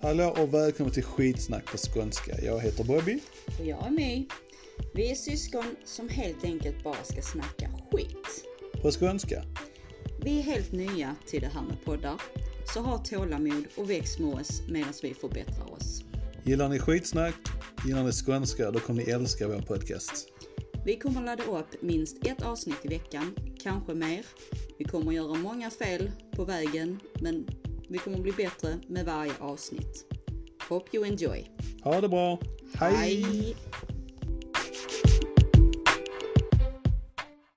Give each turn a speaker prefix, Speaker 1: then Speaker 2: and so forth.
Speaker 1: Hallå och välkommen till Skitsnack på skånska. Jag heter Bobby.
Speaker 2: Och jag är My. Vi är syskon som helt enkelt bara ska snacka skit.
Speaker 1: På skånska.
Speaker 2: Vi är helt nya till det här med poddar, så ha tålamod och väx med oss medan vi förbättrar oss.
Speaker 1: Gillar ni skitsnack, gillar ni skånska, då kommer ni älska vår podcast.
Speaker 2: Vi kommer ladda upp minst ett avsnitt i veckan, kanske mer. Vi kommer göra många fel på vägen, men vi kommer bli bättre med varje avsnitt. Hope you enjoy!
Speaker 1: Ha det bra. Hej.
Speaker 2: Hej.